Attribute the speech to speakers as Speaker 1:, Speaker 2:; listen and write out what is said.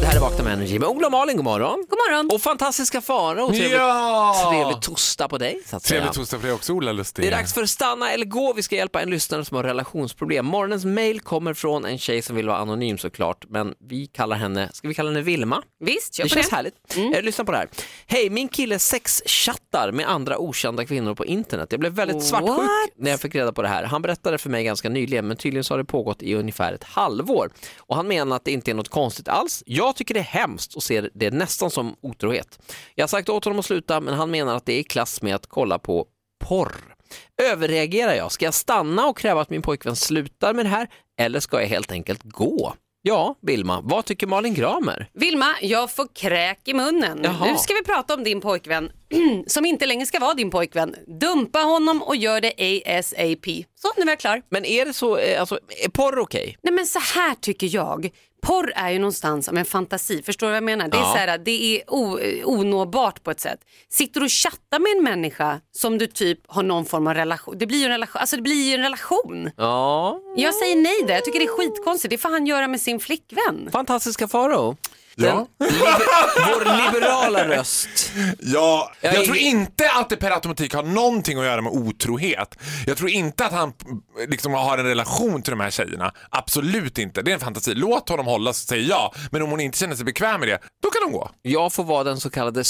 Speaker 1: Det här är Vakna med Energy med Ola och Malin, god morgon. God morgon. Och fantastiska fara och trevlig,
Speaker 2: Ja!
Speaker 1: trevlig torsdag på dig. Så att säga.
Speaker 2: Trevlig torsdag för dig också Ola Lustig.
Speaker 1: Det är dags för Stanna eller gå. Vi ska hjälpa en lyssnare som har relationsproblem. Morgonens mail kommer från en tjej som vill vara anonym såklart, men vi kallar henne, ska vi kalla henne Vilma?
Speaker 3: Visst,
Speaker 1: Det
Speaker 3: jag på
Speaker 1: känns
Speaker 3: det. Mm.
Speaker 1: härligt. Eh, Lyssna på det här. Hej, min kille sexchattar med andra okända kvinnor på internet. Jag blev väldigt
Speaker 3: What?
Speaker 1: svartsjuk när jag fick reda på det här. Han berättade för mig ganska nyligen, men tydligen så har det pågått i ungefär ett halvår. Och han menar att det inte är något konstigt alls. Jag tycker det är hemskt och ser det nästan som otrohet. Jag har sagt åt honom att sluta, men han menar att det är i klass med att kolla på porr. Överreagerar jag? Ska jag stanna och kräva att min pojkvän slutar med det här? Eller ska jag helt enkelt gå? Ja, Vilma, vad tycker Malin Gramer?
Speaker 3: Vilma, jag får kräk i munnen.
Speaker 1: Jaha.
Speaker 3: Nu ska vi prata om din pojkvän som inte längre ska vara din pojkvän. Dumpa honom och gör det ASAP. Så, nu är jag klar.
Speaker 1: Men är det så, eh, alltså, är porr okej?
Speaker 3: Nej men så här tycker jag. Porr är ju någonstans som en fantasi, förstår du vad jag menar? Det är,
Speaker 1: Ja.
Speaker 3: så här, det är o, onåbart på ett sätt. Sitter du och chattar med en människa som du typ har någon form av relation, det blir ju en relation, alltså det blir ju en relation.
Speaker 1: Ja.
Speaker 3: Jag säger nej där, jag tycker det är skitkonstigt, det får han göra med sin flickvän.
Speaker 1: Fantastiska Faro.
Speaker 2: Ja.
Speaker 1: Den, liber- vår liberala röst.
Speaker 2: Ja, jag,
Speaker 1: är-
Speaker 2: tror inte att det per automatik har någonting att göra med otrohet. Jag tror inte att han eh, liksom, har en relation till de här tjejerna. Absolut inte. Det är en fantasi. Låt honom hålla så säger jag. Men om hon inte känner sig bekväm med det, då kan hon gå.
Speaker 1: Jag får vara den så kallade